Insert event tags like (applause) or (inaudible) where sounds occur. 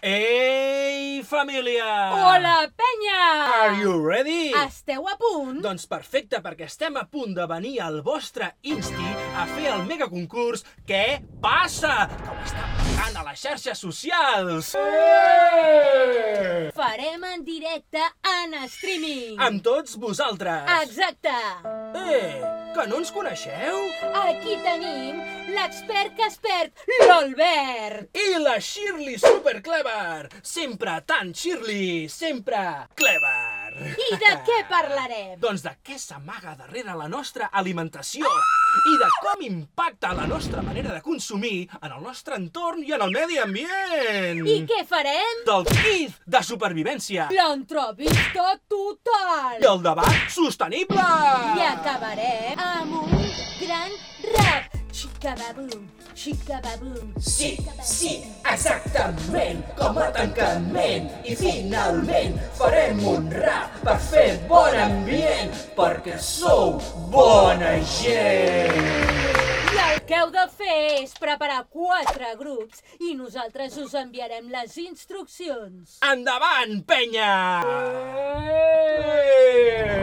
Ei, família! Hola, Ah, penya! Are you ready? Esteu a punt? Doncs perfecte, perquè estem a punt de venir al vostre Insti a fer el mega concurs Què passa? Que ho està passant a les xarxes socials! Farem en directe en streaming. Amb tots vosaltres! Exacte. Eh, que no ens coneixeu? Aquí tenim l'expert que es perd, l'Albert. I la Shirley Superclever! Sempre tan Shirley, sempre clever! I de què parlarem? (laughs) Doncs de què s'amaga darrere la nostra alimentació i de com impacta la nostra manera de consumir en el nostre entorn i en el medi ambient. I què farem? Del kit de supervivència L'entrevista i total. el debat sostenible. I acabarem amb un gran rap. Xicababum, xicababum, Sí, sí, exactament, com a tancament. I finalment farem un rap per fer bon ambient, perquè sou bona gent. I el que heu de fer és preparar quatre grups i nosaltres us enviarem les instruccions. Endavant, penya! Eh!